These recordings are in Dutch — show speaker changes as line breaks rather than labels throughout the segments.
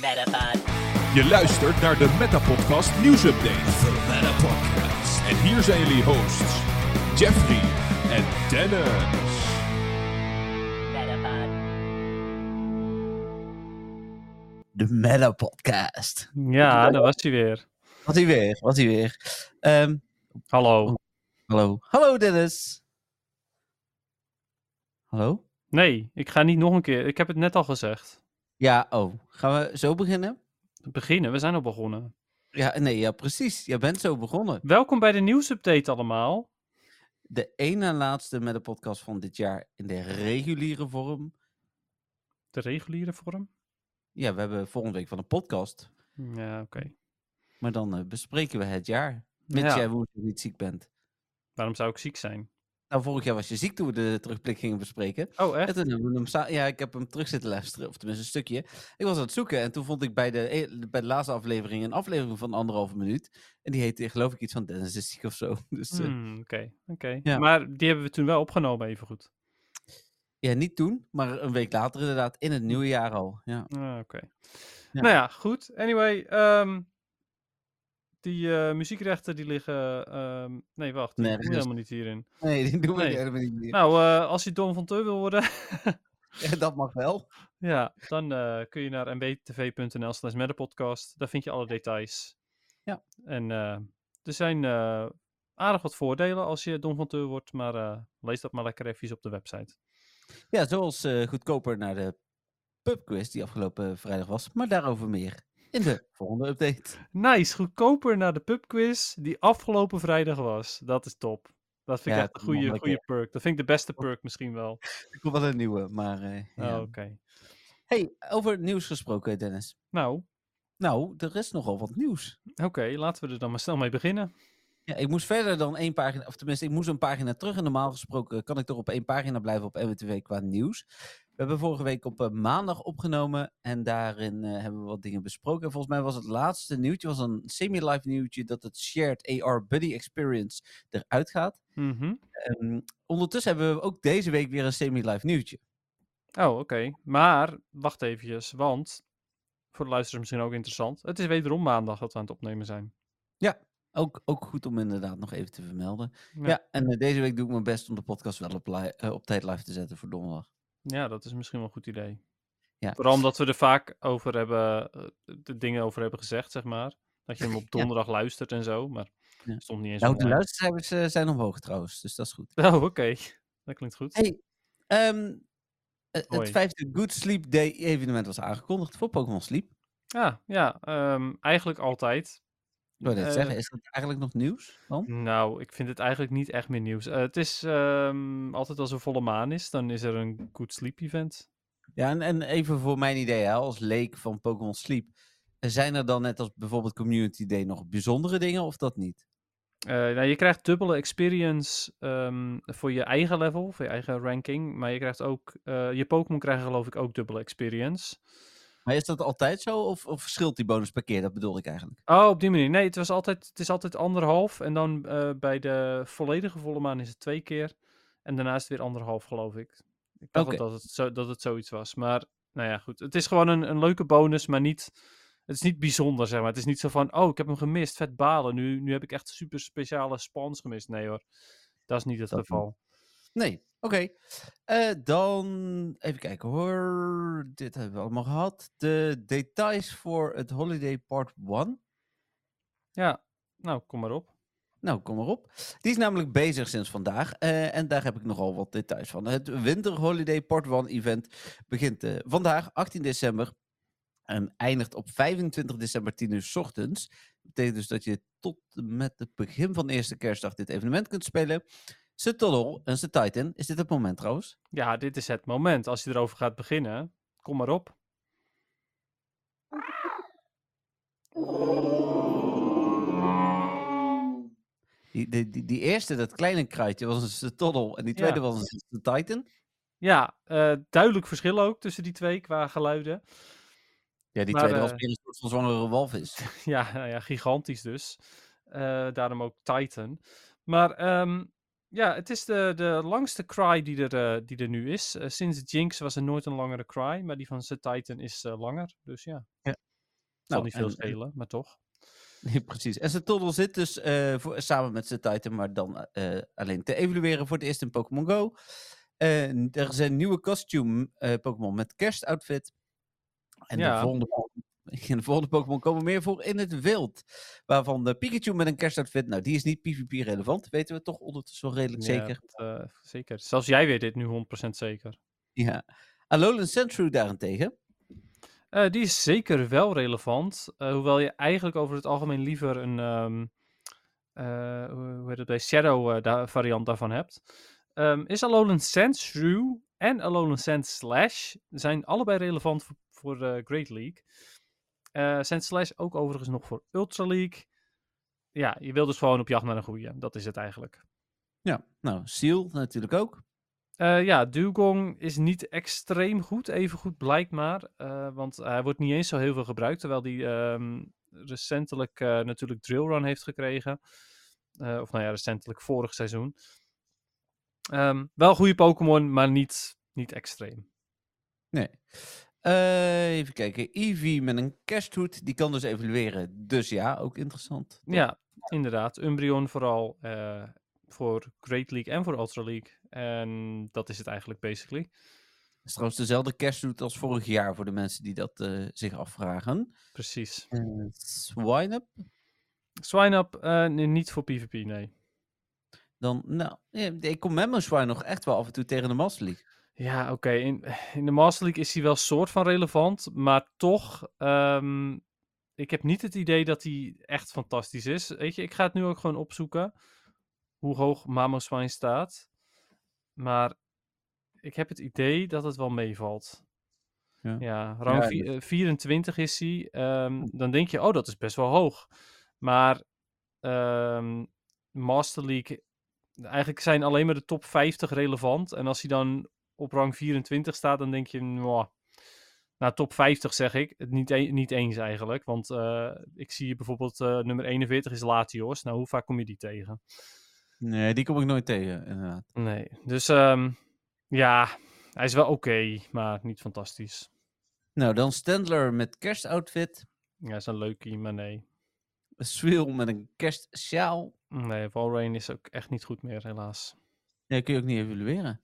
Metapod.
Je luistert naar de Metapodcast nieuwsupdate.
The Meta Podcast.
En hier zijn jullie hosts, Jeffrey en Dennis.
Metapod.
De Meta Podcast.
Ja, daar was hij weer.
Wat hij weer, wat hij weer. Ehm,
Hallo.
hallo. Hallo Dennis. Hallo?
Nee, ik ga niet nog een keer. Ik heb het net al gezegd.
Ja, oh. Gaan we zo beginnen?
Beginnen, we zijn al begonnen.
Ja, nee, ja, precies. Je bent zo begonnen.
Welkom bij de nieuwsupdate allemaal.
De één na laatste Meta Podcast van dit jaar in de reguliere vorm.
De reguliere vorm.
Ja, we hebben volgende week van een podcast.
Ja, oké.
Maar dan eh, bespreken we het jaar. Mits
Ja.
jij woensdag niet ziek bent.
Waarom zou ik ziek zijn?
Nou, vorig jaar was je ziek toen we de terugblik gingen bespreken.
Oh,
Ja,
echt?
toen hebben we hem sa- ja, ik heb hem terug zitten luisteren, of tenminste een stukje. Ik was aan het zoeken en toen vond ik bij de, e- bij de laatste aflevering een aflevering van anderhalve minuut. En die heette geloof ik iets van Dennis is ziek of zo. Dus eh,
Hmm, Oké, oké.
Ja.
Maar die hebben we toen wel opgenomen, even goed.
ja, niet toen, maar een week later inderdaad, in het nieuwe jaar al. Ja,
Ah, oké.
Ja.
Nou ja, goed. Anyway, ehm, die eh, muziekrechten die liggen... ehm, nee, wacht. Die doen we
Nergens.
helemaal niet hierin.
nee, die doen we
Nee.
helemaal niet meer.
Nou, eh, als je Don van Teu wil worden...
Ja, dat mag wel.
Ja, dan eh, kun je naar mbtv.nl slash metapodcast. Daar vind je alle details.
Ja.
En eh, er zijn eh, aardig wat voordelen als je Don van Teur wordt, maar eh, lees dat maar lekker even op de website.
Ja, zoals eh, goedkoper naar de pubquiz die afgelopen vrijdag was, maar daarover meer in de volgende update.
Nice, goedkoper naar de pubquiz die afgelopen vrijdag was. Dat is top. Dat vind ik
Ja,
echt een goede,
mannelijk,
goede perk. Dat vind ik de beste perk misschien wel.
Ik wil wel een nieuwe, maar eh, ja.
Oh, Oké.
Hey, over nieuws gesproken Dennis.
Nou,
Nou, er is nogal wat nieuws.
oké, laten we er dan maar snel mee beginnen.
Ja, ik moest verder dan één pagina, of tenminste, ik moest een pagina terug. En normaal gesproken kan ik toch op één pagina blijven op MWTV qua nieuws. We hebben vorige week op eh, maandag opgenomen en daarin eh, hebben we wat dingen besproken. En volgens mij was het laatste nieuwtje, was een semi-live nieuwtje, dat het Shared AR Buddy Experience eruit gaat.
Mhm.
Ehm, ondertussen hebben we ook deze week weer een semi-live nieuwtje.
Oh, oké. Maar, wacht eventjes, want... Voor de luisteraars misschien ook interessant. Het is wederom maandag dat we aan het opnemen zijn.
Ook, ook goed om inderdaad nog even te vermelden. Ja,
Ja.
en eh, deze week doe ik mijn best om de podcast wel op, li- eh, op tijd live te zetten voor donderdag.
Ja, dat is misschien wel een goed idee.
Ja.
Vooral omdat we er vaak over hebben, eh, de dingen over hebben gezegd, zeg maar. Dat je hem op donderdag luistert en zo, maar
Ja.
stond niet eens
Nou, de
online.
luistercijfers eh, zijn omhoog trouwens, dus dat is goed.
Oh, oké. Dat klinkt goed.
Hey, ehm, eh, het
Hoi.
vijfde Good Sleep Day evenement was aangekondigd voor Pokémon Sleep.
Ja, ja ehm, eigenlijk altijd.
Ik wou net
Eh,
zeggen, is dat eigenlijk nog nieuws dan?
Nou, ik vind het eigenlijk niet echt meer nieuws. Eh, het is ehm, altijd als er volle maan is, dan is er een Good Sleep Event.
Ja, en, en even voor mijn idee, hè, als leek van Pokémon Sleep. eh, Zijn er dan net als bijvoorbeeld Community Day nog bijzondere dingen of dat niet?
Eh, nou, je krijgt dubbele experience ehm, voor je eigen level, voor je eigen ranking. Maar je krijgt ook, eh, je Pokémon krijgen geloof ik ook dubbele experience.
Maar is dat altijd zo of, of verschilt die bonus per keer? Dat bedoel ik eigenlijk.
Oh, op die manier. Nee, het, was altijd, het is altijd anderhalf. En dan eh, bij de volledige volle maan is het twee keer. En daarna is het weer anderhalf, geloof ik. Ik dacht
Oké.
dat, het zo, dat het zoiets was. Maar nou ja, goed. Het is gewoon een, een leuke bonus, maar niet... Het is niet bijzonder, zeg maar. Het is niet zo van, oh, ik heb hem gemist. Vet balen. Nu, nu heb ik echt super speciale spawns gemist. Nee hoor, dat is niet het
Dat niet.
geval.
Nee, oké. Eh, dan even kijken hoor. Dit hebben we allemaal gehad. De details voor het Holiday Part 1.
Ja, nou, kom maar op.
Nou, kom maar op. Die is namelijk bezig sinds vandaag. eh, en daar heb ik nogal wat details van. Het Winter Holiday Part 1 event begint eh, vandaag, 18 december. En eindigt op 25 december 10 uur 's ochtends. Dat betekent dus dat je tot en met het begin van de eerste kerstdag dit evenement kunt spelen. Setolol en Titan. Is dit het moment trouwens?
Ja, dit is het moment. Als je erover gaat beginnen, kom maar op.
Die, die, die, die eerste, dat kleine kruidje, was een Setolol. En die tweede
Ja.
was een Titan.
Ja, eh, duidelijk verschil ook tussen die twee qua geluiden.
Ja, die
Maar,
tweede was
eh,
meer een soort van zwangere walvis.
Ja, nou ja, gigantisch dus. Eh, daarom ook Titan. Maar ehm, Ja, het is de, de langste cry die er, eh, die er nu is. Eh, sinds Jinx was er nooit een langere cry, maar die van Z Titan is eh, langer. Dus ja.
Ja.
Zal
Nou,
niet veel
en-
schelen, maar toch.
Nee, precies. En Satoddle zit dus eh, voor, samen met zijn Titan, maar dan eh, alleen te evalueren voor het eerst in Pokémon Go. Eh, n- er is een nieuwe costume eh, Pokémon met kerstoutfit. En de
Ja.
volgende, in de volgende Pokémon komen meer voor in het wild. Waarvan de Pikachu met een kerstoutfit, nou die is niet PvP relevant, weten we toch ondertussen wel redelijk
Ja,
zeker.
dat, eh, zeker. Zelfs jij weet dit nu 100% zeker.
Ja. Alolan Sentry daarentegen.
Eh, die is zeker wel relevant. eh, hoewel je eigenlijk over het algemeen liever een. ehm, eh, hoe hoe heet het bij Shadow eh, da- variant daarvan hebt. Ehm, is Alolan Sand Shrew en Alolan Sand Slash zijn allebei relevant voor, voor eh, Great League. Eh Sand Slash ook overigens nog voor Ultra League. Ja, je wil dus gewoon op jacht naar een goede. Dat is het eigenlijk.
Ja, nou, Seal natuurlijk ook.
Eh, ja, Dugong is niet extreem goed, even goed blijkt maar. eh, want hij wordt niet eens zo heel veel gebruikt, terwijl hij ehm, recentelijk eh, natuurlijk Drillrun heeft gekregen. Eh, of nou ja, recentelijk vorig seizoen. Ehm, wel een goede Pokémon, maar niet, niet extreem.
Nee. Eh, even kijken. Eevee met een kersthoed, die kan dus evalueren. Dus ja, ook interessant.
Ja, inderdaad. Umbreon vooral eh, voor Great League en voor Ultra League. En dat is het eigenlijk basically.
Het is trouwens dezelfde kersthoed als vorig jaar voor de mensen die dat eh, zich afvragen.
Precies.
Swine-up?
Swineup, eh, nee, niet voor PvP, nee.
Dan, nou, eh, ik kom met mijn Swine nog echt wel af en toe tegen de Master League.
Ja, oké. In, in de Master League is hij wel soort van relevant, maar toch, ehm, ik heb niet het idee dat hij echt fantastisch is. Weet je, ik ga het nu ook gewoon opzoeken hoe hoog Mamo Swine staat, maar ik heb het idee dat het wel meevalt.
Ja.
Ja, rang
Ja,
vi- eh, 24 is hij. ehm, dan denk je, oh, dat is best wel hoog. Maar ehm, Master League, eigenlijk zijn alleen maar de top 50 relevant. En als hij dan op rang 24 staat, dan denk je, nou, nou top 50 zeg ik, het niet, e- niet eens eigenlijk. Want eh, ik zie hier bijvoorbeeld eh, nummer 41 is Latios. Nou, hoe vaak kom je die tegen?
Nee, die kom ik nooit tegen, inderdaad.
Nee, dus ehm, ja, hij is wel oké, maar niet fantastisch.
Nou, dan Standler met kerstoutfit.
Ja, is een leukie, maar nee.
Swill met een kerstsjaal.
Nee, Walrein is ook echt niet goed meer, helaas.
Ja, kun je ook niet evalueren.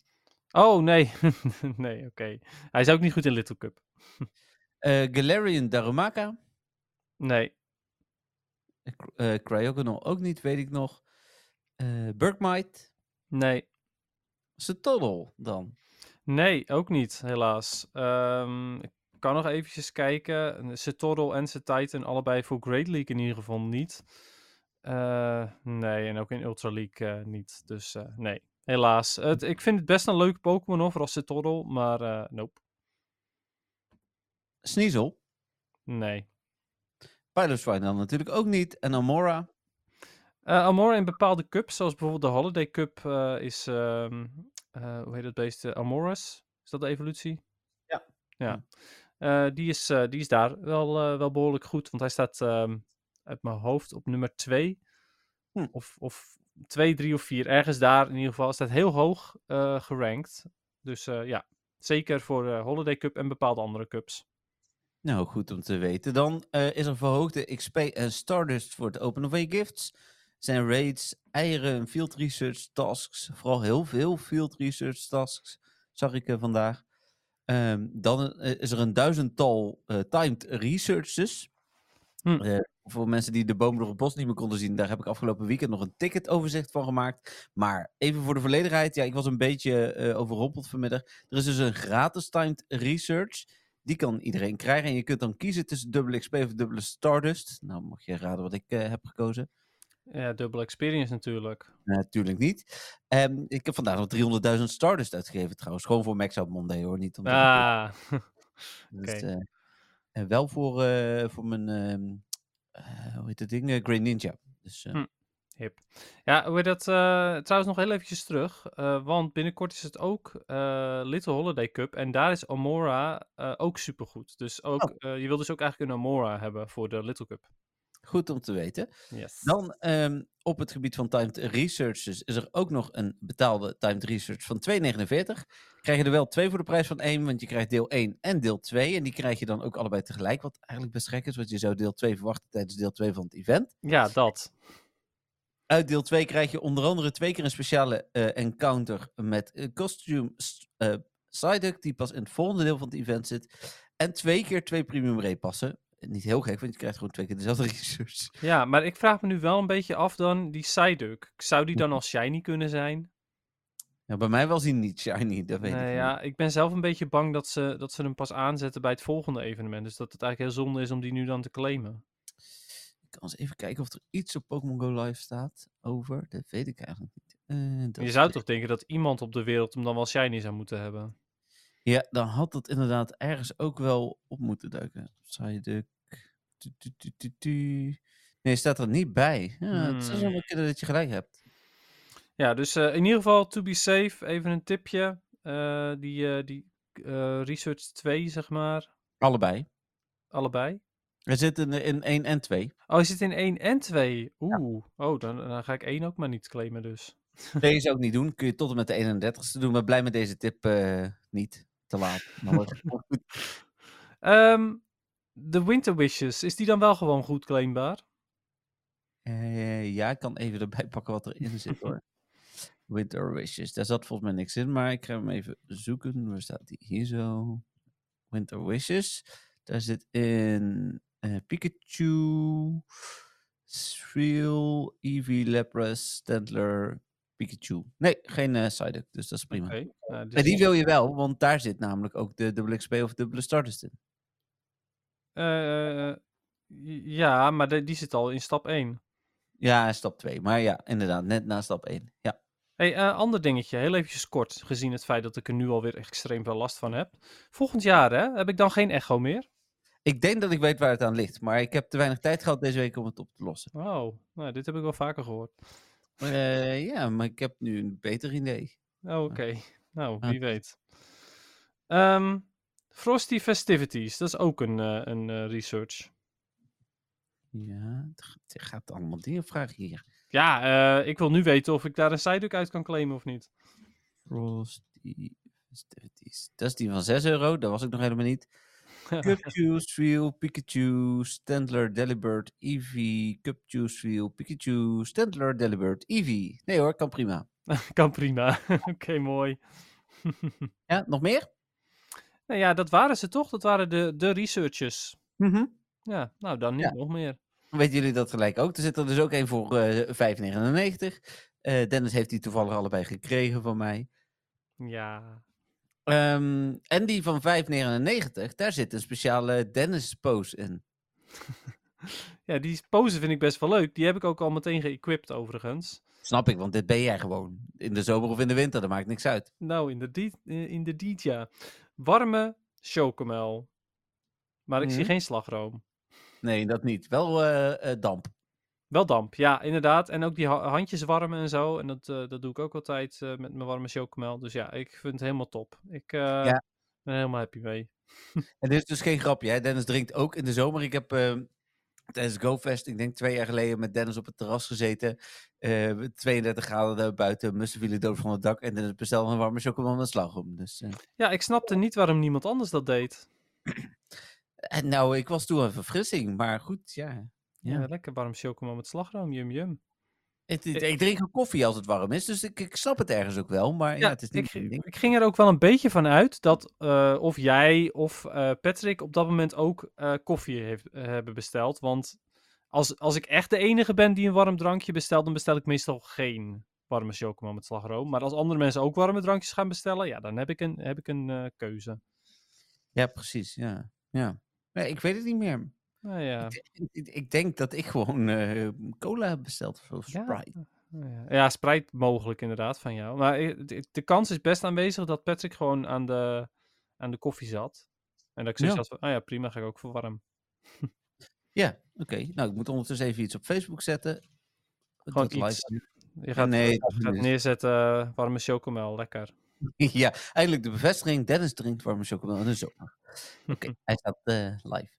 Oh, nee. nee, oké. Hij is ook niet goed in Little Cup.
Eh Galarian Darumaka.
Nee,
Eh, Cry- eh, Cryogonal ook niet, weet ik nog. Eh Burkmite.
nee.
Satoddle dan.
Nee, ook niet, helaas. Ehm, ik kan nog eventjes kijken. Setoddle en Titan allebei voor Great League in ieder geval niet. Eh, nee, en ook in Ultra League eh, niet. Dus eh, nee, helaas. Het, ik vind het best een leuke Pokémon hoor, vooral Setoddle, maar eh, nope.
Sneasel.
Nee.
Piloswine dan natuurlijk ook niet. En Amora.
Eh Amora in bepaalde cups, zoals bijvoorbeeld de Holiday Cup, eh, is. ehm, eh, hoe heet dat beest? Eh, Amoras? Is dat de evolutie?
Ja.
ja. Eh, die, is, eh, die is daar wel, eh, wel behoorlijk goed, want hij staat ehm, uit mijn hoofd op nummer 2.
Hm.
Of, of 2, 3 of 4. Ergens daar in ieder geval. Staat heel hoog eh, gerankt. Dus eh, ja, zeker voor eh Holiday Cup en bepaalde andere cups.
Nou, goed om te weten. Dan eh, is er verhoogde XP en Stardust voor het openen van je gifts. Zijn raids, eieren, field research tasks. Vooral heel veel field research tasks zag ik eh, vandaag. Ehm, dan eh, is er een duizendtal eh, timed researches.
Hm.
Eh, voor mensen die de boom door het bos niet meer konden zien, daar heb ik afgelopen weekend nog een ticketoverzicht van gemaakt. Maar even voor de volledigheid, ja, ik was een beetje eh, overrompeld vanmiddag. Er is dus een gratis timed research. Die kan iedereen krijgen. En je kunt dan kiezen tussen dubbele XP of dubbele Stardust. Nou, mag je raden wat ik eh, heb gekozen?
Ja, dubbele experience natuurlijk.
Natuurlijk niet. Ehm, ik heb vandaag nog 300.000 Stardust uitgegeven trouwens. Gewoon voor Max Out Monday hoor. Niet omdat ik het-
Ah,
Dus,
Oké.
eh, en wel voor, eh, voor mijn, ehm, eh, hoe heet dat ding? Eh, Green Ninja. Dus, eh,
Hm. Hip. Ja, hoe heet dat? eh, trouwens, nog heel eventjes terug. eh, want binnenkort is het ook eh, Little Holiday Cup. En daar is
Oh.
Amora eh, ook supergoed. Dus ook, eh, je wil dus ook eigenlijk een Amora hebben voor de Little Cup.
Goed om te weten.
Yes.
Dan ehm, op het gebied van timed researches is er ook nog een betaalde timed research van 2,49. Krijg je er wel twee voor de prijs van één, want je krijgt deel 1 en deel 2. En die krijg je dan ook allebei tegelijk, wat eigenlijk best gek is, want je zou deel 2 verwachten tijdens deel 2 van het event.
Ja, dat.
Uit deel 2 krijg je onder andere twee keer een speciale eh, encounter met eh, costume st- eh Psyduck, die pas in het volgende deel van het event zit. En twee keer twee premium repassen. Niet heel gek, want je krijgt gewoon twee keer dezelfde research.
Ja, maar ik vraag me nu wel een beetje af dan, die Psyduck. Zou die dan als shiny kunnen zijn?
Ja, bij mij was hij niet shiny, dat weet ik
Nee,
niet.
ja, ik ben zelf een beetje bang dat ze, dat ze hem pas aanzetten bij het volgende evenement. Dus dat het eigenlijk heel zonde is om die nu dan te claimen.
Ik kan eens even kijken of er iets op Pokémon Go Live staat over. Dat weet ik eigenlijk niet. Eh, dat
je zou
is-
toch denken dat iemand op de wereld hem dan wel shiny zou moeten hebben?
Ja, dan had dat inderdaad ergens ook wel op moeten duiken. Psyduck. Tu, tu, tu, tu, tu. Nee, staat er niet bij. Ja, Het zou
Hmm.
zomaar kunnen dat je gelijk hebt.
Ja, dus eh, in ieder geval, to be safe, even een tipje. Eh, die eh, die eh, Research 2, zeg maar,
Allebei.
allebei.
Er zitten in, in 1 en 2.
Oh, je zit in 1 en 2. Oeh, oh, dan, dan ga ik 1 ook maar niet claimen dus.
Deze zou ik niet doen. Kun je tot en met de 31ste doen. Maar blij met deze tip eh, niet. Te laat. Maar wordt het wel goed.
Ehm, de Winter Wishes, is die dan wel gewoon goed claimbaar?
Eh, ja, ik kan even erbij pakken wat erin zit hoor. Winter Wishes. Daar zat volgens mij niks in, maar ik ga hem even zoeken. Waar staat die? Hier zo. Winter Wishes. Daar zit in eh, Pikachu, Shreel, Eevee, Lapras, Stantler, Pikachu. Nee, geen eh Psyduck, dus dat is prima.
Oké. nou,
Maar
dus-
die wil je wel, want daar zit namelijk ook de dubbele XP of dubbele starters in.
Eh, ja, maar de- die zit al in stap 1.
Ja, stap 2. Maar ja, inderdaad, net na stap 1. Ja.
hey, eh, ander dingetje, heel eventjes kort, gezien het feit dat ik er nu alweer extreem veel last van heb. Volgend jaar, hè, heb ik dan geen echo meer?
Ik denk dat ik weet waar het aan ligt, maar ik heb te weinig tijd gehad deze week om het op te lossen.
Oh, nou, dit heb ik wel vaker gehoord.
Eh, ja, maar ik heb nu een beter idee.
Oh, Oké, nou,
Ah.
wie weet. Ehm, Frosty Festivities, dat is ook een, eh, een eh, research.
Ja, het g- het gaat allemaal dingen vragen hier.
Ja, eh, ik wil nu weten of ik daar een Psyduck uit kan claimen of niet.
Frosty festivities. Dat is die van 6 euro, dat was ik nog helemaal niet. Cupchew, Sweel, Pikachu, Stantler, Delibird, Eevee. Cupchew, Sweel, Pikachu, Stantler, Delibird, Eevee. Nee hoor, kan prima.
kan prima. Oké, mooi.
Ja, nog meer?
nou ja, dat waren ze toch? Dat waren de, de researchers. Ja, nou dan niet
Ja.
nog meer.
Weten jullie dat gelijk ook? Er zit er dus ook één voor eh 5,99. Eh, Dennis heeft die toevallig allebei gekregen van mij.
Ja.
Ehm, en die van 5,99, daar zit een speciale Dennis-pose in.
Ja, die pose vind ik best wel leuk. Die heb ik ook al meteen geëquipt overigens.
Snap ik, want dit ben jij gewoon. In de zomer of in de winter, dat maakt niks uit.
Nou, in de, die- eh, in de deed, ja. Warme chocomel. Maar ik zie
Mhm.
geen slagroom.
Nee, dat niet. Wel eh, eh, damp.
Wel damp, ja, inderdaad. En ook die ha- handjes warmen en zo. En dat, eh, dat doe ik ook altijd eh, met mijn warme chocomel. Dus ja, ik vind het helemaal top. Ik eh,
Ja.
ben helemaal happy mee.
En dit is dus geen grapje, hè? Dennis drinkt ook in de zomer. Ik heb ehm, tijdens GoFest, ik denk twee jaar geleden, met Dennis op het terras gezeten. Eh, 32 graden daar buiten, mussen vielen dood van het dak. En Dennis bestelde een warme chocomel met slagroom. Dus, eh.
Ja, ik snapte niet waarom niemand anders dat deed.
en nou, ik was toen een verfrissing, maar goed, ja.
Ja,
Ja.
lekker warm chocomel met slagroom, yum yum.
Het- het-
Eh,
ik drink ook koffie als het warm is, dus ik, ik snap het ergens ook wel. Maar ja, het is niet
ik,
mijn ding.
ik ging er ook wel een beetje van uit dat eh, of jij of eh, Patrick op dat moment ook eh, koffie heeft, eh, hebben besteld. Want als, als ik echt de enige ben die een warm drankje bestelt, dan bestel ik meestal geen warme chocomel met slagroom. Maar als andere mensen ook warme drankjes gaan bestellen, ja, dan heb ik een, heb ik een eh, keuze.
Ja, precies. Ja. Ja. Nee, ik weet het niet meer.
Nou ja,
Ik, ik- ik denk dat ik gewoon eh, cola heb besteld of zo,
Ja.
Sprite.
nou ja. ja, Sprite mogelijk inderdaad van jou. Maar eh, de, de kans is best aanwezig dat Patrick gewoon aan de, aan de koffie zat. En dat ik zoiets
Ja.
had van, ah ja, prima, ga ik ook voor warm.
Ja, oké. Nou, ik moet ondertussen even iets op Facebook zetten.
Gewoon
Dat live
iets.
stream.
Je gaat,
Nee,
je
dat
gaat
niet.
neerzetten eh, warme chocomel, lekker.
ja, eindelijk de bevestiging. Dennis drinkt warme chocomel in de zomer. Oké, hij staat eh, live.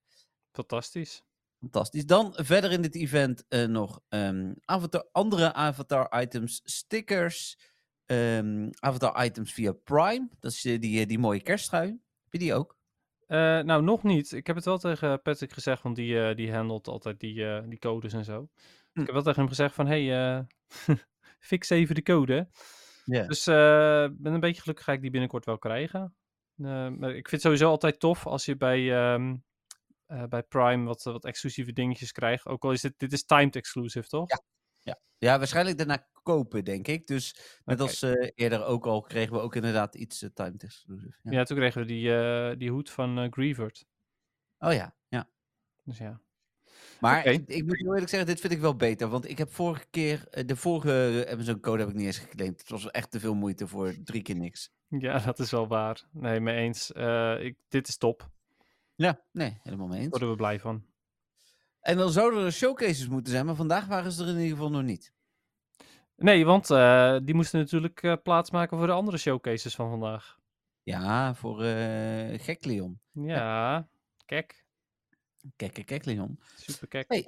Fantastisch.
Fantastisch. Dan verder in dit event eh, nog ehm, avatar, andere avatar-items, stickers, ehm, avatar-items via Prime. Dat is eh, die, eh, die mooie kersttrui. Heb je die ook?
Eh, nou, nog niet. Ik heb het wel tegen Patrick gezegd, want die, eh, die handelt altijd die, eh, die codes en zo. Dus Ik heb wel tegen hem gezegd van, hey, eh, fix even de code. hè.
Ja.
Dus eh, ben een beetje gelukkig ga ik die binnenkort wel krijgen. Eh, maar ik vind het sowieso altijd tof als je bij, ehm, eh, bij Prime wat, wat exclusieve dingetjes krijgt. Ook al is dit, dit is timed exclusive, toch?
Ja, waarschijnlijk daarna kopen, denk ik. Dus net
Oké.
als eh, eerder ook al kregen we ook inderdaad iets eh, timed exclusive. Ja.
Ja, toen kregen we die, eh, die hoed van eh Grievert.
Oh ja, ja.
Dus ja.
Maar
Oké.
ik, ik moet heel eerlijk zeggen, dit vind ik wel beter. Want ik heb vorige keer, eh, de vorige Amazon code heb ik niet eens geclaimd. Het was echt te veel moeite voor drie keer niks.
ja, dat is wel waar. Nee, mee eens. Eh, ik, dit is top.
Ja. Nee, helemaal mee eens.
Worden we blij van.
En dan zouden er showcases moeten zijn, maar vandaag waren ze er in ieder geval nog niet.
Nee, want eh, die moesten natuurlijk eh, plaatsmaken voor de andere showcases van vandaag.
Ja, voor eh gek Leon.
Ja, kijk.
Kijk, kijk, kijk Leon.
Super kijk.
Hey.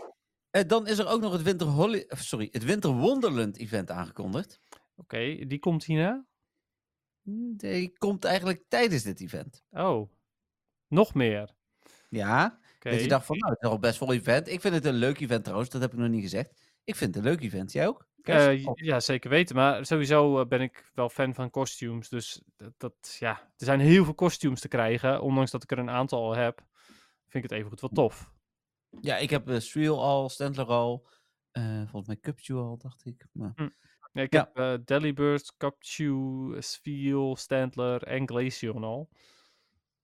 Eh, dan is er ook nog het Winter, Holly, of sorry, het Winter Wonderland event aangekondigd.
Oké, die komt hierna.
Hm, Die komt eigenlijk tijdens dit event.
Oh, nog meer.
Ja,
Oké.
dat je dacht van, nou, het is al best vol event. Ik vind het een leuk event trouwens, dat heb ik nog niet gezegd. Ik vind het een leuk event. Jij ook? Kerst?
Eh, j-
Oh,
ja, zeker weten. Maar sowieso eh, ben ik wel fan van costumes. Dus dat, dat, ja, er zijn heel veel costumes te krijgen. Ondanks dat ik er een aantal al heb, vind ik het evengoed wel tof.
Ja, ik heb eh Sriel al, Stendler al, eh, volgens mij Cupju al, dacht ik. Maar...
Ja, ik
Ja.
heb eh Delibird, Capchew, Sviel, Standler en Glaceon al.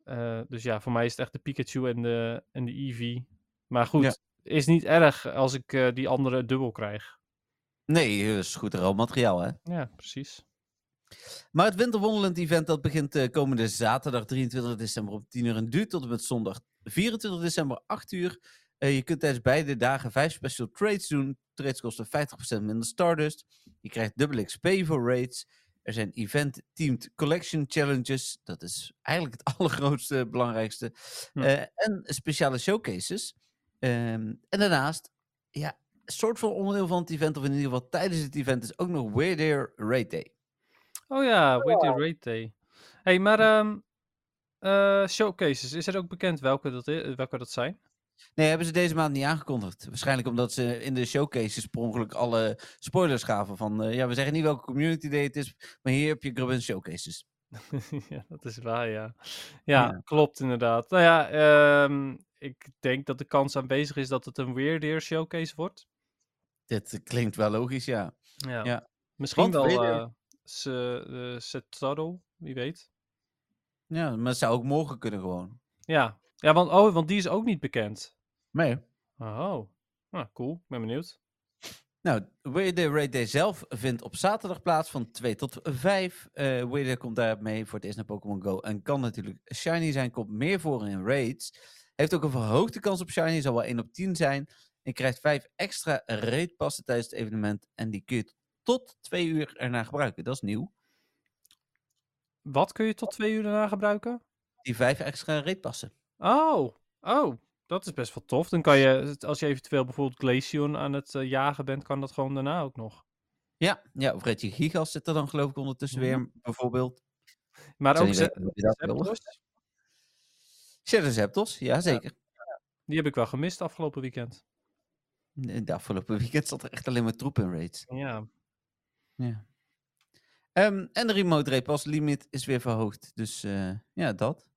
Eh, dus ja, voor mij is het echt de Pikachu en de, en de Eevee. Maar goed,
Ja.
is niet erg als ik eh, die andere dubbel krijg.
Nee, dat is goed rauw materiaal, hè?
Ja, precies.
Maar het Winter Wonderland event dat begint eh, komende zaterdag 23 december om 10 uur en duurt tot en met zondag 24 december 8 uur. Eh, je kunt tijdens beide dagen vijf special trades doen. Trades kosten 50% minder Stardust. Je krijgt dubbel XP voor raids. Er zijn event-teamed collection challenges. Dat is eigenlijk het allergrootste, belangrijkste.
Hm.
Eh, en speciale showcases. Ehm, en daarnaast, ja, een soort van onderdeel van het event, of in ieder geval tijdens het event, is ook nog Weird Air Raid Day.
Oh ja, Wait Your Raid Day. hey, maar ehm, eh, showcases, is er ook bekend welke dat, i- welke dat zijn?
Nee, hebben ze deze maand niet aangekondigd. Waarschijnlijk omdat ze in de showcases per ongeluk alle spoilers gaven. Van eh, ja, we zeggen niet welke community day het is, maar hier heb je Grubbin showcases.
ja, dat is waar, ja. ja.
Ja.
klopt inderdaad. Nou ja, ehm, ik denk dat de kans aanwezig is dat het een Weird Ear showcase wordt.
Dit eh, klinkt wel logisch, ja.
Ja.
Ja.
Misschien
Want
wel
Weird Ear-
eh se, eh, Setaro, wie weet.
Ja, maar het zou ook morgen kunnen gewoon.
Ja, ja want, oh, want die is ook niet bekend.
Nee.
Oh, nou, cool. Ik ben benieuwd.
Nou, Weird Day Raid Day zelf vindt op zaterdag plaats van 2 tot 5. Eh Weird Day komt daar mee voor het eerst naar Pokémon Go en kan natuurlijk shiny zijn. Komt meer voor in raids. Heeft ook een verhoogde kans op shiny, zal wel 1 op 10 zijn. Je krijgt 5 extra raidpassen tijdens het evenement en die kun je tot 2 uur erna gebruiken. Dat is nieuw.
Wat kun je tot twee uur daarna gebruiken?
Die 5 extra raidpassen.
Oh, oh, dat is best wel tof. Dan kan je, als je eventueel bijvoorbeeld Glaceon aan het eh, jagen bent, kan dat gewoon daarna ook nog.
Ja, ja, of Reggie Gigas zit er dan geloof ik ondertussen
Mhm.
weer, bijvoorbeeld.
Maar
Zou
ook
niet
Ze-
weten of je dat wil.
Zapdos,
Shadow Zapdos, ja zeker.
die heb ik wel gemist afgelopen weekend.
In de afgelopen weekend zat er echt alleen maar troep in raids.
Ja,
Ja. Ehm, en de remote repas limit is weer verhoogd. Dus eh, ja, dat.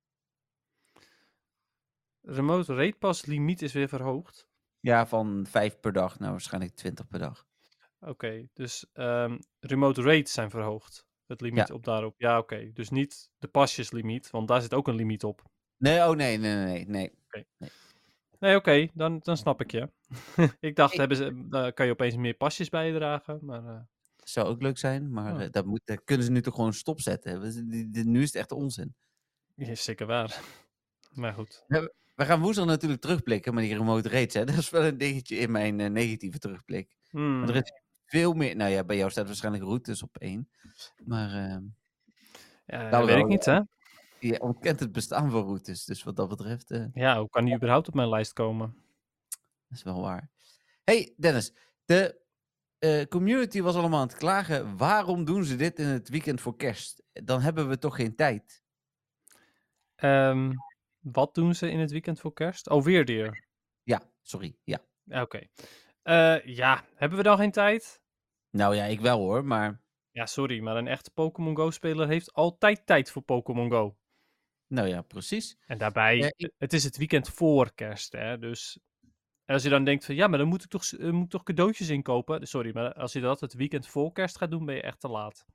remote rate pass limiet is weer verhoogd.
Ja, van vijf per dag naar waarschijnlijk twintig per dag.
Oké, dus ehm, remote rates zijn verhoogd. Het limiet op daarop. Ja, oké. Dus niet de pasjeslimiet, want daar zit ook een limiet op.
Nee, oh nee, nee, nee, nee.
Nee, oké, dan, dan snap ik je. ik dacht, hebben ze, eh, kan je opeens meer pasjes bijdragen, maar... eh,
Zou ook leuk zijn, maar
Oh.
eh, dat, moet, dat kunnen ze nu toch gewoon stopzetten. We- die- die- die- Nu is het echt onzin.
ja, eh, is zeker waar. maar goed.
We gaan woensdag natuurlijk terugblikken, maar die remote rates, hè, dat is wel een dingetje in mijn eh, negatieve terugblik.
Hmm.
Maar er is veel meer, nou ja, bij jou staat waarschijnlijk routes op één. Maar ehm, Nou,
Ja, dat weet
wel,
ik niet, hè?
je ontkent het bestaan van routes, dus wat dat betreft... eh,
Ja, hoe kan die überhaupt op mijn lijst komen?
Dat is wel waar. Hey Dennis, de eh, community was allemaal aan het klagen. Waarom doen ze dit in het weekend voor kerst? Dan hebben we toch geen tijd.
Ehm, wat doen ze in het weekend voor kerst? Oh, weer Deer.
Ja, sorry. Ja.
Ja, Oké. Eh, ja, hebben we dan geen tijd?
Nou ja, ik wel hoor, maar
Ja, sorry, maar een echte Pokémon Go-speler heeft altijd tijd voor Pokémon Go.
nou ja, precies.
En daarbij,
Ja,
eh, het is het weekend voor kerst, hè, dus... En als je dan denkt van, ja, maar dan moet ik toch, s- eh, moet ik toch cadeautjes inkopen? Sorry, maar als je dat het weekend voor kerst gaat doen, ben je echt te laat.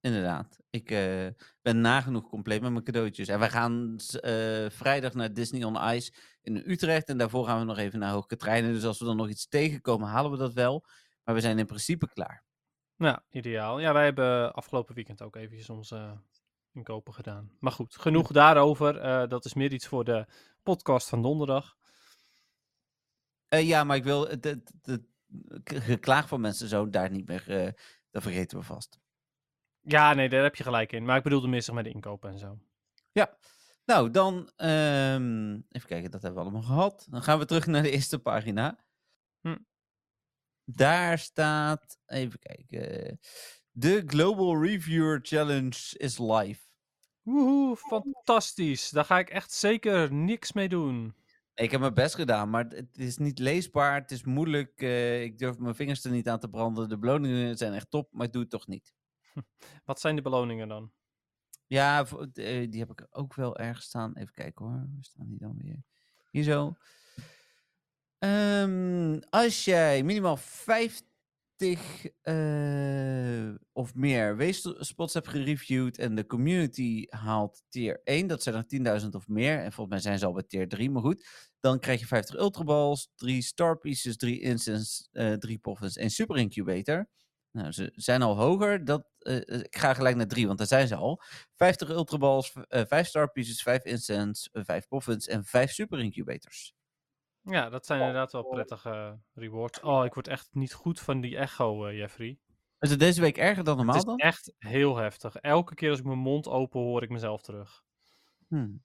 Inderdaad. Ik eh, ben nagenoeg compleet met mijn cadeautjes. En we gaan s- eh, vrijdag naar Disney on Ice in Utrecht. En daarvoor gaan we nog even naar Hoogkaterijnen. Dus als we dan nog iets tegenkomen, halen we dat wel. Maar we zijn in principe klaar.
Nou, ideaal. Ja, wij hebben afgelopen weekend ook eventjes onze inkopen gedaan. Maar goed, genoeg daarover. Eh, dat is meer iets voor de podcast van donderdag.
Eh, ja, maar ik wil het het- het- het geklaag van mensen zo daar niet meer. eh, dat vergeten we vast.
Ja, nee, daar heb je gelijk in. Maar ik bedoelde meer zeg maar de inkopen en zo.
Ja. Nou, dan ehm, even kijken, dat hebben we allemaal gehad. Dan gaan we terug naar de eerste pagina.
Hm.
Daar staat, even kijken, de Global Reviewer Challenge is live.
Woehoe, fantastisch. Daar ga ik echt zeker niks mee doen.
Ik heb mijn best gedaan, maar het- het is niet leesbaar, het is moeilijk. eh, ik durf mijn vingers er niet aan te branden. De beloningen zijn echt top, maar ik doe het toch niet.
Wat zijn de beloningen dan?
Ja, vo- d- eh, die heb ik ook wel ergens staan. Even kijken hoor. Waar staan die dan weer? Hier zo. Ehm, als jij minimaal 50 eh, of meer weespots hebt gereviewd en de community haalt tier 1, dat zijn er 10.000 of meer. En volgens mij zijn ze al bij tier 3, maar goed. Dan krijg je 50 Ultra Balls, 3 Star Pieces, 3 Instants, eh 3 Poffins en Super Incubator. Nou, ze zijn al hoger. Dat, eh, eh, ik ga gelijk naar 3, want daar zijn ze al. 50 ultraballs, v- eh 5 star pieces, 5 incense, eh, 5 poffins en 5 super incubators.
Ja, dat
Oh,
zijn inderdaad wel prettige rewards. Oh, ik word echt niet goed van die echo, eh, Jeffrey.
Is het deze week erger dan
Het
normaal
is
dan?
echt heel heftig. Elke keer als ik mijn mond open hoor ik mezelf terug.
Hmm.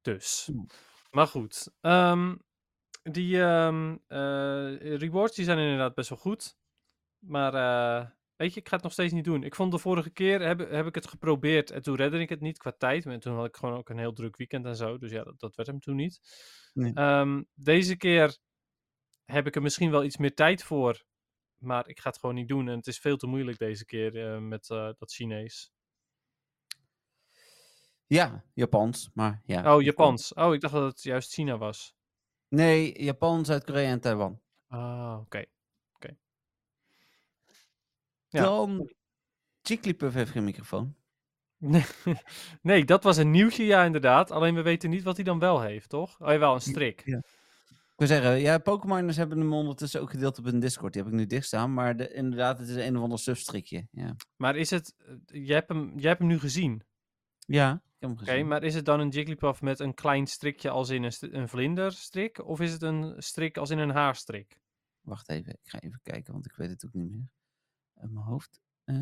Dus.
Hmm.
Maar goed. ehm, die ehm, eh, rewards die zijn inderdaad best wel goed. Maar eh, weet je, ik ga het nog steeds niet doen. Ik vond de vorige keer heb, heb ik het geprobeerd. En toen redde ik het niet qua tijd. Maar toen had ik gewoon ook een heel druk weekend en zo. Dus ja, dat, dat werd hem toen niet.
Nee.
Ehm, deze keer heb ik er misschien wel iets meer tijd voor. Maar ik ga het gewoon niet doen. En het is veel te moeilijk deze keer eh, met eh, dat Chinees.
Ja, Japans, maar ja. dat
Oh,
komt.
Japans. Oh, ik dacht dat het juist China was.
Nee, Japan, Zuid-Korea en Taiwan.
Ah, oké. Ja.
Dan, Jigglypuff heeft geen microfoon.
Nee, nee, dat was een nieuwtje, ja, inderdaad. Alleen we weten niet wat hij dan wel heeft, toch? Oh, wel een
ja.
strik.
Ik wil zeggen, ja, Pokémoners hebben hem ondertussen ook gedeeld op hun Discord. Die heb ik nu dicht staan, maar de, inderdaad, het is een of ander substrikje. Ja,
Maar is het... eh, Je hebt hem, je hebt hem nu gezien, oké?
ja ik heb hem gezien.
Maar is het dan een Jigglypuff met een klein strikje als in een, st- een vlinderstrik? Of is het een strik als in een haarstrik?
Wacht even, ik ga even kijken, want ik weet het ook niet meer. Uit mijn hoofd. Eh,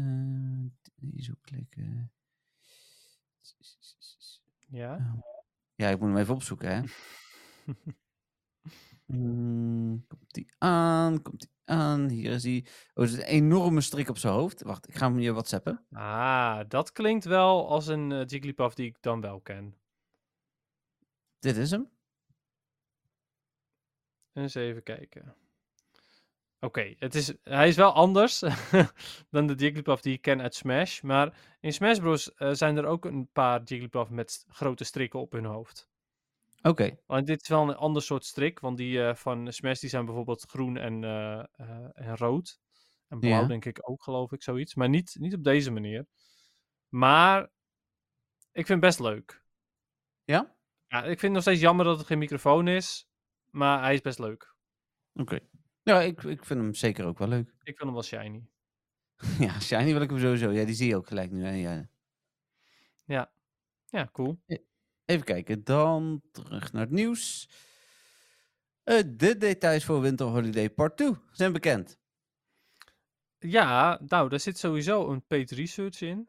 hier zo klikken.
Ja?
Oh. Ja, ik moet hem even opzoeken, hè. Mm, komt die aan, komt die aan. Hier is hij. Oh, er zit een enorme strik op zijn hoofd. Wacht, ik ga hem je whatsappen.
Ah, dat klinkt wel als een eh, Jigglypuff die ik dan wel ken.
Dit is hem.
Eens even kijken. Oké, het is, hij is wel anders dan de Jigglypuff die ik ken uit Smash. Maar in Smash Bros. eh, zijn er ook een paar Jigglypuff met st- grote strikken op hun hoofd.
Oké.
Alleen dit is wel een ander soort strik, want die eh, van Smash die zijn bijvoorbeeld groen en, eh, eh, en rood. En blauw
Ja.
denk ik ook, geloof ik, zoiets. Maar niet, niet op deze manier. Maar ik vind het best leuk.
Ja?
Ja, ik vind het nog steeds jammer dat het geen microfoon is, maar hij is best leuk.
Oké. Ja, ik, ik vind hem zeker ook wel leuk.
Ik vind hem wel shiny.
ja, Shiny wil ik hem sowieso. Ja, die zie je ook gelijk nu, hè. Ja.
Ja, cool.
Even kijken, dan terug naar het nieuws. Eh, de details voor Winter Holiday Part 2 zijn bekend.
Ja, nou, daar zit sowieso een paid research in.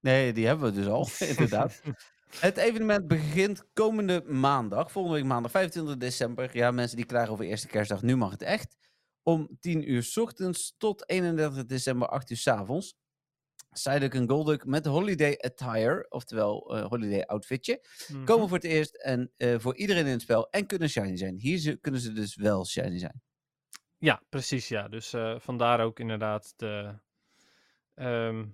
Nee, die hebben we dus al, inderdaad. Het evenement begint komende maandag, volgende week maandag 25 december. Ja, mensen die klagen over eerste kerstdag, nu mag het echt. Om 10 uur 's ochtends tot 31 december 8 uur 's avonds. Psyduck en Golduck met holiday attire, oftewel eh, holiday outfitje,
Mhm.
komen voor het eerst en eh, voor iedereen in het spel en kunnen shiny zijn. Hier ze- kunnen ze dus wel shiny zijn.
Ja, precies, ja. Dus eh, vandaar ook inderdaad de, ehm,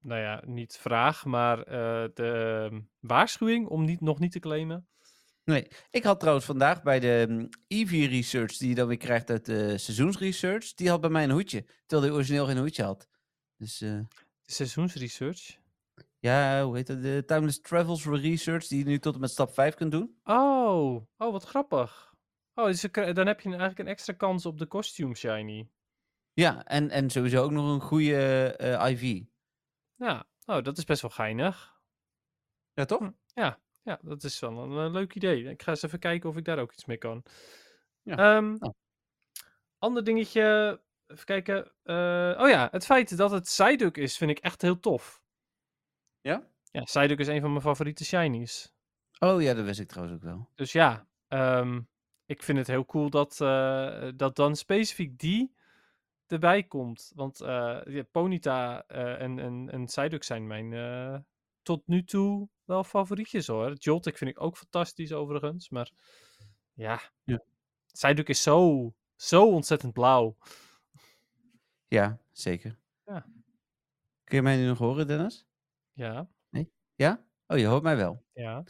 nou ja, niet vraag, maar eh, de ehm, waarschuwing om niet, nog niet te claimen.
Ik had trouwens vandaag bij de mm, Eevee Research, die je dan weer krijgt uit de seizoensresearch, die had bij mij een hoedje, terwijl die origineel geen hoedje had. Dus eh,
Seizoensresearch.
ja, hoe heet dat? De Timeless Travels Research, die je nu tot en met stap 5 kunt doen.
Oh, oh, wat grappig. Oh, dus dan kri- dan heb je eigenlijk een extra kans op de costume shiny.
Ja, en, en sowieso ook nog een goede eh, IV.
Ja, oh, dat is best wel geinig.
Ja, toch?
Hm. Ja, dat is wel een, eh, leuk idee. Ik ga eens even kijken of ik daar ook iets mee kan.
Ja,
Ehm,
nou.
Ander dingetje. Even kijken. eh, oh ja, het feit dat het Psyduck is, vind ik echt heel tof.
Ja?
Ja, Psyduck is een van mijn favoriete shinies.
Oh ja, dat wist ik trouwens ook wel.
Dus ja, ehm, ik vind het heel cool dat, eh, dat dan specifiek die erbij komt. Want eh, ja, Ponyta eh, en, en, en Psyduck zijn mijn eh, tot nu toe wel favorietjes hoor. Joltik vind ik ook fantastisch overigens. Maar ja,
Ja.
Psyduck is zo, zo ontzettend blauw.
Ja, zeker.
Ja.
Kun je mij nu nog horen, Dennis?
Ja,
Ja? Oh, je hoort mij wel.
ja.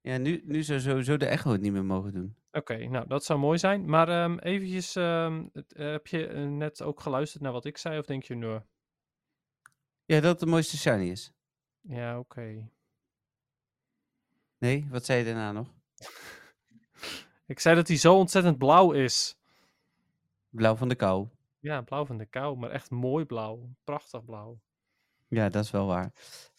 Ja, nu, nu zou sowieso de echo het niet meer mogen doen.
Oké, nou dat zou mooi zijn. Maar ehm eventjes, ehm, het- eh, heb je eh, net ook geluisterd naar wat ik zei? Of denk je, nou,
Ja, dat het de mooiste shiny is.
ja oké.
Nee, wat zei je daarna nog?
Ik zei dat hij zo ontzettend blauw is.
Blauw van de kou.
Ja, blauw van de kou, maar echt mooi blauw. Prachtig blauw.
Ja, dat is wel waar.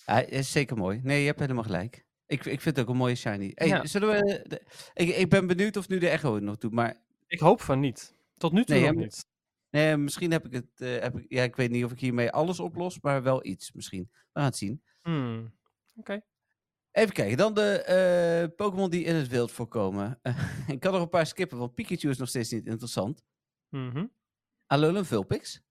Hij is zeker mooi. Nee, je hebt helemaal gelijk. Ik, ik vind het ook een mooie shiny. Hey,
Ja.
zullen we, eh, de- ik, ik ben benieuwd of nu de echo het nog doet, maar
Ik hoop van niet. Tot nu toe
Nee,
nog
hè?
niet.
Nee, misschien heb ik het. eh, heb ik, ja, ik weet niet of ik hiermee alles oplos, maar wel iets misschien. We gaan het zien.
Hmm.
Even kijken, dan de eh, Pokémon die in het wild voorkomen. ik kan er een paar skippen, want Pikachu is nog steeds niet interessant.
Mhm.
Alolan Vulpix.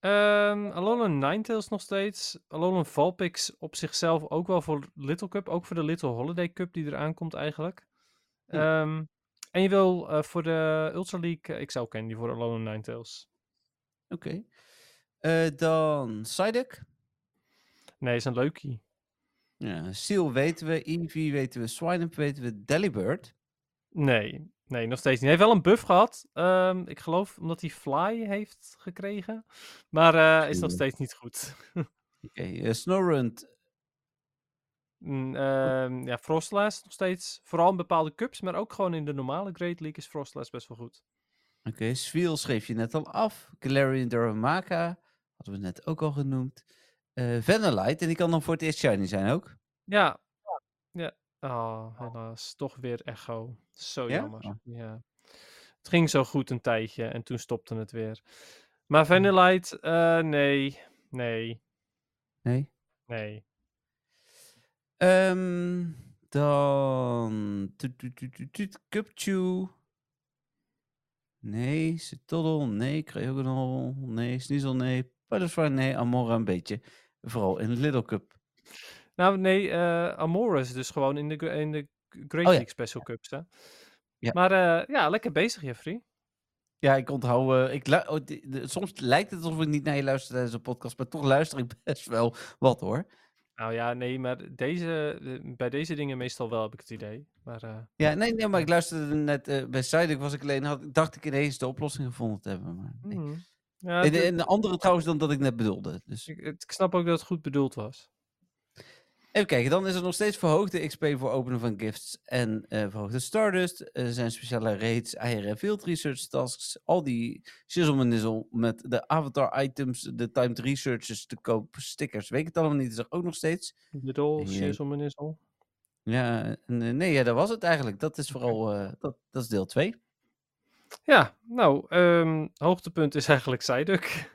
Ehm, Alolan Ninetales nog steeds. Alolan Valpix op zichzelf ook wel voor Little Cup. Ook voor de Little Holiday Cup die eraan komt eigenlijk.
Hm.
Ehm, en je wil eh, voor de Ultra League eh, XL Candy voor Alolan Ninetales.
Oké. Eh, dan Psyduck.
Nee, is een leukie.
Ja, Seal weten we, Eevee weten we, Swinub weten we, Delibird.
Nee, nee, nog steeds niet. Hij heeft wel een buff gehad. ehm, ik geloof omdat hij fly heeft gekregen. Maar eh, is nog
Oeh.
steeds niet goed.
Oké, eh, Snorunt.
Mm, ehm, ja, Frostlass nog steeds. Vooral in bepaalde cups, maar ook gewoon in de normale Great League is Frostlass best wel goed.
Oké, Swiel schreef je net al af. Galarian Darumaka, hadden we net ook al genoemd. Eh Vanillite, en die kan dan voor het eerst shiny zijn ook.
Ja. Ja. Oh, helaas. Toch weer echo. Zo
Ja?
jammer.
Oh.
Ja. Het ging zo goed een tijdje en toen stopte het weer.
Hmm.
Maar Vanillite, eh, nee. Nee.
Nee.
Nee.
Ehm, dan. Toet, toet, toet, toet, toet, Cupchew. Nee, Cetoddle. Nee, Creogonal. Nee, Sneasel. Nee, Paddlesfire. Nee, Amora een beetje. Vooral in Little Cup.
Nou, nee, eh Amora is dus gewoon in de, gr- in de Great
Oh ja.
League Special Cups, hè.
Ja.
Maar eh, ja, lekker bezig, Jeffrey.
Ja, ik onthoud. eh, ik lu- oh, di- de- soms lijkt het alsof ik niet naar je luister tijdens een podcast, maar toch luister ik best wel wat hoor.
Nou ja, nee, maar deze, eh, bij deze dingen meestal wel, heb ik het idee. Maar eh,
Ja, nee, nee, maar ik luisterde net eh, bij Zuidelijk was ik alleen, had, dacht ik ineens de oplossing gevonden te hebben. Maar nee.
mhm. ja,
Mm-hmm. en,
het-
en de andere trouwens dan dat nou, ik net bedoelde. Dus.
ik, het- ik snap ook dat het goed bedoeld was.
Even kijken, dan is er nog steeds verhoogde XP voor openen van gifts en eh, verhoogde Stardust. Er zijn speciale raids, eieren en field research tasks. Al die shizzle en nizzle met de avatar items, de timed researches te koop, stickers. Weet ik het allemaal niet, is er ook nog steeds.
Bedoel,
Ja.
shizzle-menisle.
Ja, en, eh, nee, ja, dat was het eigenlijk. Dat is vooral, eh, dat, dat is deel 2.
Ja, nou, ehm, hoogtepunt is eigenlijk Psyduck.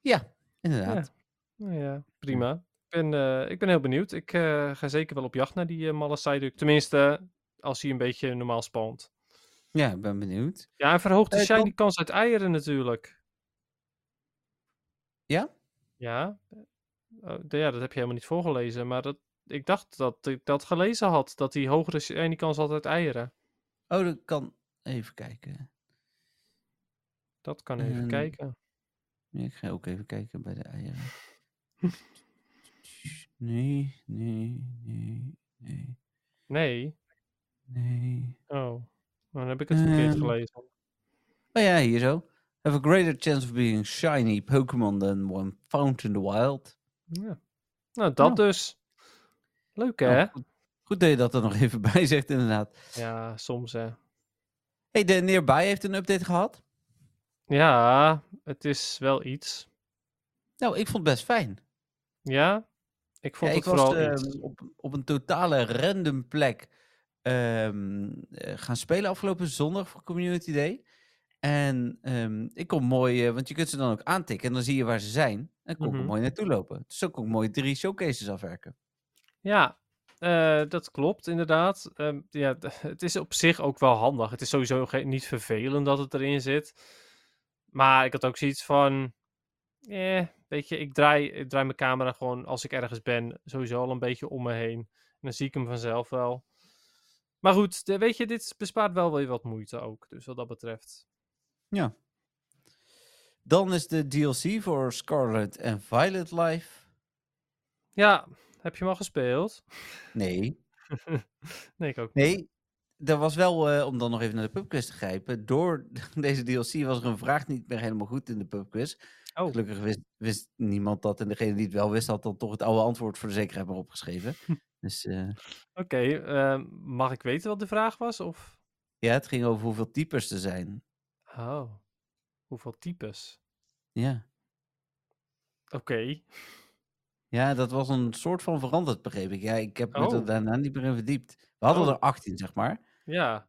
Ja, inderdaad.
Nou ja, prima. ben, eh, ik ben heel benieuwd. Ik eh, ga zeker wel op jacht naar die eh, malle Psyduck. Tenminste, als hij een beetje normaal spant.
Ja, ik ben benieuwd.
Ja, en verhoogt de
Eh,
shiny
Tom-
kans uit eieren natuurlijk.
Ja?
Ja. Eh, d- ja, dat heb je helemaal niet voorgelezen. Maar dat, ik dacht dat ik dat gelezen had. Dat hij hogere shiny kans had uit eieren.
Oh, dat kan. Even kijken.
Dat kan even
Ehm,
kijken.
Ja, ik ga ook even kijken bij de eieren. Nee, nee, nee, nee,
Nee.
nee.
Oh. Dan heb ik het verkeerd
Ehm,
gelezen.
Oh ja, hier zo. Have a greater chance of being shiny Pokémon than one found in the wild.
Ja. Nou, dat
nou.
dus. Leuk hè?
Nou, goed, goed dat je dat er nog even bij zegt, inderdaad.
Ja, soms hè.
hey, de Nearby heeft een update gehad.
Ja, het is wel iets.
Nou, ik vond het best fijn.
Ja, ik vond
Ja,
het
ik was
vooral iets.
ehm, op, op een totale random plek ehm, eh, gaan spelen afgelopen zondag voor Community Day. En ehm, ik kon mooi, eh, want je kunt ze dan ook aantikken en dan zie je waar ze zijn. En kon ik
Mhm.
er mooi naartoe lopen. Dus zo kon ik mooi drie showcases afwerken.
Ja, eh, dat klopt inderdaad. Ehm, ja, d- het is op zich ook wel handig. Het is sowieso geen- niet vervelend dat het erin zit. Maar ik had ook zoiets van... Eh, weet je, ik draai, ik draai mijn camera gewoon als ik ergens ben... sowieso al een beetje om me heen. En dan zie ik hem vanzelf wel. Maar goed, de- weet je, dit bespaart wel weer wat moeite ook. Dus wat dat betreft.
Dan is de DLC voor Scarlet en Violet live.
Ja, heb je hem al gespeeld?
Nee.
Nee, ik ook
Nee. Er was wel, eh, om dan nog even naar de pubquiz te grijpen, door deze DLC was er een vraag niet meer helemaal goed in de pubquiz.
Oh.
Gelukkig wist, wist niemand dat. En degene die het wel wist, had dan toch het oude antwoord voor de zekerheid maar opgeschreven. dus eh,
Oké, ehm, mag ik weten wat de vraag was? Of...
ja, het ging over hoeveel types er zijn.
Oh, hoeveel types?
Ja.
Oké,
ja, dat was een soort van veranderd, begreep ik. Ja, ik heb me er
Oh.
daarna niet meer in verdiept. We hadden
Oh.
er 18, zeg maar.
ja.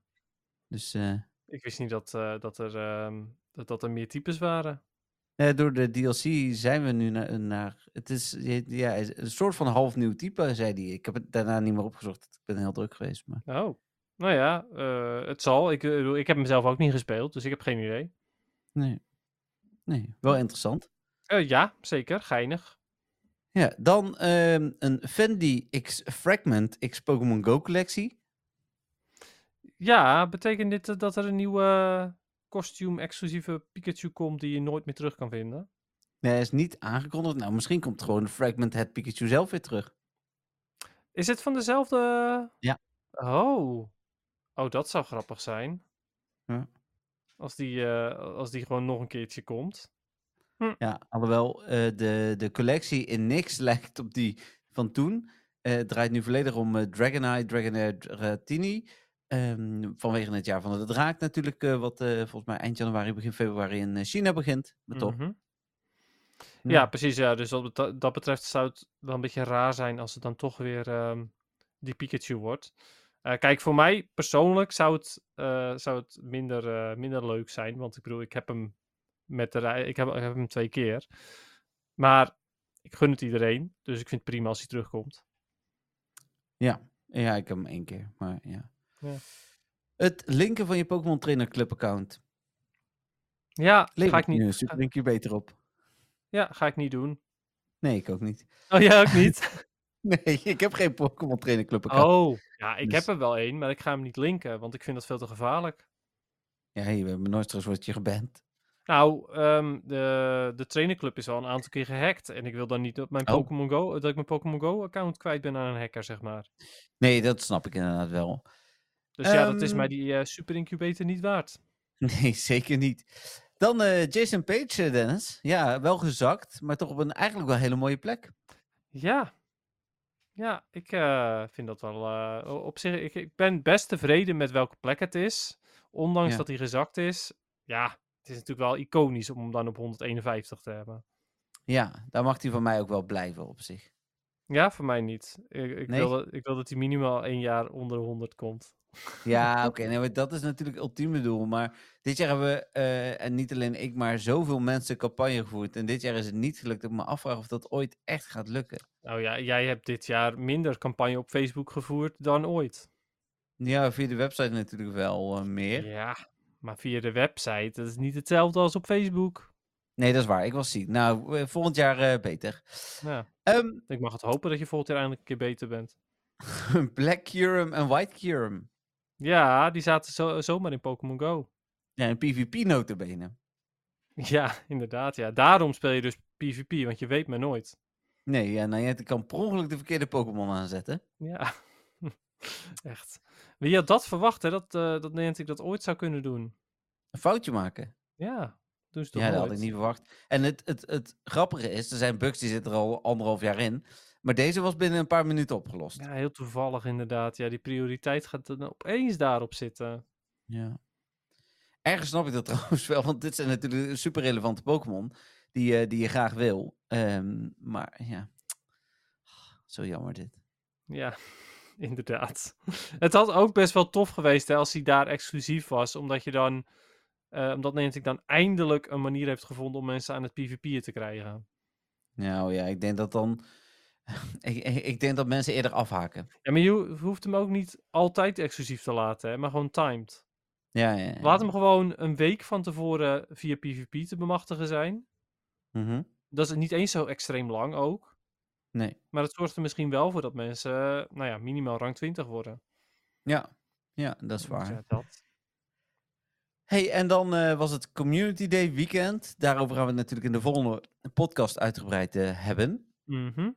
Dus eh,
Ik wist niet dat, eh, dat, er, ehm, dat, dat er meer types waren.
eh, door de DLC zijn we nu naar... naar het is je- ja, een soort van half nieuw type, zei hij. Ik heb het daarna niet meer opgezocht. Ik ben heel druk geweest. Maar...
Oh, nou ja, eh, het zal. Ik, eh, bedoel, ik heb hem zelf ook niet gespeeld, dus ik heb geen idee.
Nee. nee, wel interessant.
Eh, ja, zeker, geinig.
Ja, dan ehm, een Fendi X Fragment X Pokémon Go collectie.
Ja, betekent dit eh, dat er een nieuwe kostuum-exclusieve Pikachu komt die je nooit meer terug kan vinden?
Nee, hij is niet aangekondigd. Nou, misschien komt gewoon de Fragment Head Pikachu zelf weer terug.
Is het van dezelfde?
Ja.
Oh. Oh, dat zou grappig zijn.
Ja.
Als, die, eh, als die gewoon nog een keertje komt.
Ja, alhoewel eh, de, de collectie in niks lijkt op die van toen. Eh, het draait nu volledig om eh, Dragonite, Dragonair, Dratini. Ehm, vanwege het jaar van de draak natuurlijk, eh, wat eh, volgens mij eind januari, begin februari in eh, China begint. Maar toch.
Mhm.
Ja.
Ja, precies. Ja. Dus wat beta- dat betreft zou het wel een beetje raar zijn als het dan toch weer ehm, die Pikachu wordt. Eh, kijk, voor mij persoonlijk zou het, eh, zou het minder, eh, minder leuk zijn. Want ik bedoel, ik heb hem met de rij. Ik heb, ik heb hem twee keer. Maar ik gun het iedereen. Dus ik vind het prima als hij terugkomt.
Ja, ik heb hem één keer, maar ja.
Ja.
Het linken van je Pokémon Trainer Club account.
Ja, ga
Levert
ik niet. eh,
nu een super linkje beter op.
Ja, ga ik niet doen.
Nee, ik ook niet.
Oh, jij ook niet?
Nee, ik heb geen Pokémon Trainer Club account.
oh, ja, ik heb
Dus-
er wel één, maar ik ga hem niet linken, want ik vind dat veel te gevaarlijk.
Ja, je bent me nooit terug wordt je geband.
Nou, ehm, de, de trainerclub is al een aantal keer gehackt en ik wil dan niet dat, mijn
Oh.
Pokémon Go, dat ik mijn Pokémon Go-account kwijt ben aan een hacker, zeg maar.
Nee, dat snap ik inderdaad wel.
Dus ja, dat is mij
Ehm.
die eh, super incubator niet waard.
Nee, zeker niet. Dan eh, Jason Page, eh, Dennis. Ja, wel gezakt, maar toch op een eigenlijk wel hele mooie plek.
Ja. Ja, ik eh, vind dat wel eh, o- op zich. Ik, ik ben best tevreden met welke plek het is. Ondanks
Ja.
dat hij gezakt is. Ja, het is natuurlijk wel iconisch om hem dan op 151 te hebben.
Ja, daar mag hij van mij ook wel blijven op zich.
Ja, voor mij niet. Ik, ik,
Nee?
wil, dat, ik wil dat hij minimaal één jaar onder de 100 komt.
Ja, oké, nee, maar dat is natuurlijk het ultieme doel. Maar dit jaar hebben we, eh, en niet alleen ik, maar zoveel mensen campagne gevoerd. En dit jaar is het niet gelukt. Ik me afvraag of dat ooit echt gaat lukken.
Nou ja, jij hebt dit jaar minder campagne op Facebook gevoerd dan ooit.
Ja, via de website natuurlijk wel eh, meer.
Ja, maar via de website, dat is niet hetzelfde als op Facebook.
Nee, dat is waar. Ik was ziek. Nou, eh, volgend jaar eh, beter.
Ja,
Ehm,
ik mag het hopen dat je volgend jaar eindelijk een keer beter bent.
Black Curum en White Curum.
Ja, die zaten zo, zomaar in Pokémon Go.
Ja, en PvP notabene.
Ja, inderdaad. Ja. Daarom speel je dus PvP, want je weet maar nooit.
Nee, ja, nou, je kan per ongeluk de verkeerde Pokémon aanzetten.
Ja, echt. Wie had dat verwacht, hè? Dat, eh dat Niantic dat ooit zou kunnen doen.
Een foutje maken.
Ja, doen ze toch
Ja, dat had
nooit?
ik niet verwacht. En het, het, het grappige is, er zijn bugs die zitten er al anderhalf jaar in. Maar deze was binnen een paar minuten opgelost.
Ja, heel toevallig inderdaad. Ja, die prioriteit gaat dan opeens daarop zitten.
Ja. Ergens snap ik dat trouwens wel, want dit zijn natuurlijk super relevante Pokémon die, eh, die je graag wil. Ehm, maar ja, Ah, zo jammer dit.
Ja, inderdaad. Het had ook best wel tof geweest hè, als hij daar exclusief was, omdat je dan, eh omdat Niantic dan eindelijk een manier heeft gevonden om mensen aan het PvP'en te krijgen.
Nou ja, ik denk dat dan. ik, ik, ik denk dat mensen eerder afhaken.
Ja, maar je ho- hoeft hem ook niet altijd exclusief te laten, hè, maar gewoon timed.
Ja, ja. ja.
Laat hem gewoon een week van tevoren via PvP te bemachtigen zijn.
Mhm.
Dat is niet eens zo extreem lang ook.
Nee.
Maar het zorgt er misschien wel voor dat mensen, eh, nou ja, minimaal rank 20 worden.
Ja. ja, dat is
Dus
waar.
ja, dat.
Hey, en dan eh, was het Community Day weekend. Daarover gaan we het natuurlijk in de volgende podcast uitgebreid eh, hebben.
Mhm.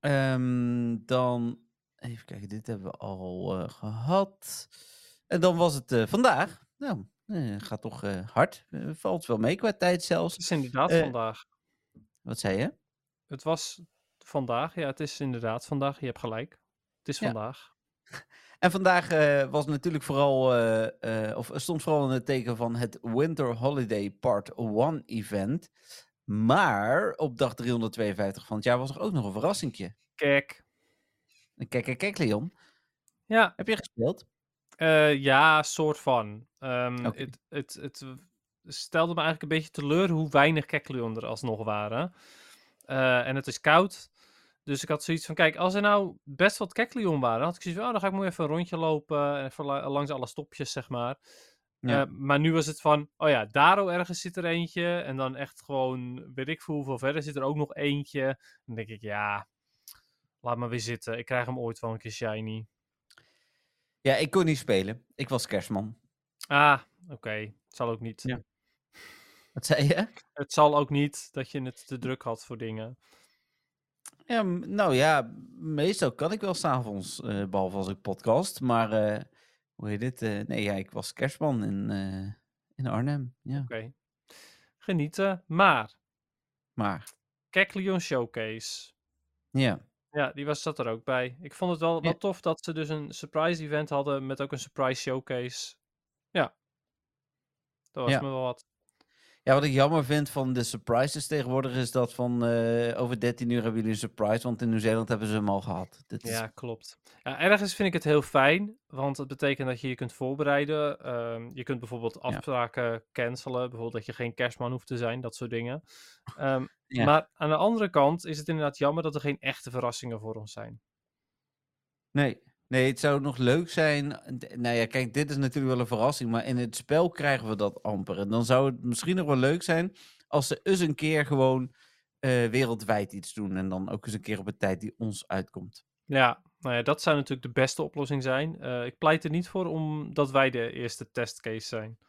Ehm, dan, even kijken, dit hebben we al eh, gehad. En dan was het eh, vandaag. Nou, eh, gaat toch eh, hard. Eh, valt wel mee qua tijd zelfs.
Het is inderdaad
Eh,
vandaag.
Wat zei je?
Het was vandaag. Ja, het is inderdaad vandaag. Je hebt gelijk. Het is
Ja.
vandaag.
En vandaag eh, was natuurlijk vooral, eh, eh, of stond vooral in het teken van het Winter Holiday Part 1 event. Maar op dag 352 van het jaar was er ook nog een verrassingje.
Kijk.
En Kijk, kijk, kijk, Leon.
Ja,
Heb je gespeeld?
eh, ja, soort van. Ehm,
Oké.
het, het, het stelde me eigenlijk een beetje teleur hoe weinig Kekleon er alsnog waren. Eh, en het is koud. Dus ik had zoiets van, kijk, als er nou best wat Kekleon waren, had ik zoiets van, oh, dan ga ik mooi even een rondje lopen, en even la- langs alle stopjes, zeg maar.
Ja.
Eh, maar nu was het van, oh ja, Daro ergens zit er eentje. En dan echt gewoon, weet ik veel hoeveel verder zit er ook nog eentje. Dan denk ik, ja, laat maar weer zitten. Ik krijg hem ooit wel een keer shiny.
Ja, ik kon niet spelen. Ik was kerstman.
Ah, oké. zal ook niet.
Ja. Wat zei je?
Het zal ook niet dat je het te druk had voor dingen.
Ja, m- nou ja, meestal kan ik wel s'avonds, eh behalve als ik podcast. Maar eh, hoe heet dit? Eh, nee, ja, ik was kerstman in, eh, in Arnhem. Ja,
Oké. Genieten. Maar,
maar
Keklion Showcase.
ja,
Ja, die was, zat er ook bij. Ik vond het wel, wel
Ja.
tof dat ze dus een surprise event hadden met ook een surprise showcase. Ja. Dat was
Ja.
me wel wat.
ja, wat ik jammer vind van de surprises tegenwoordig is dat van eh, over 13 uur hebben jullie een surprise, want in Nieuw-Zeeland hebben ze hem al gehad. Dit is,
Ja, klopt. Ja, ergens vind ik het heel fijn, want het betekent dat je je kunt voorbereiden. Ehm, je kunt bijvoorbeeld afspraken cancelen, bijvoorbeeld dat je geen kerstman hoeft te zijn, dat soort dingen. Ehm,
Ja.
Maar aan de andere kant is het inderdaad jammer dat er geen echte verrassingen voor ons zijn.
Nee. nee, het zou nog leuk zijn. d- Nou ja, kijk, dit is natuurlijk wel een verrassing, maar in het spel krijgen we dat amper. En dan zou het misschien nog wel leuk zijn als ze eens een keer gewoon eh, wereldwijd iets doen. En dan ook eens een keer op een tijd die ons uitkomt.
Ja, nou ja, dat zou natuurlijk de beste oplossing zijn. Eh, ik pleit er niet voor omdat wij de eerste testcase zijn.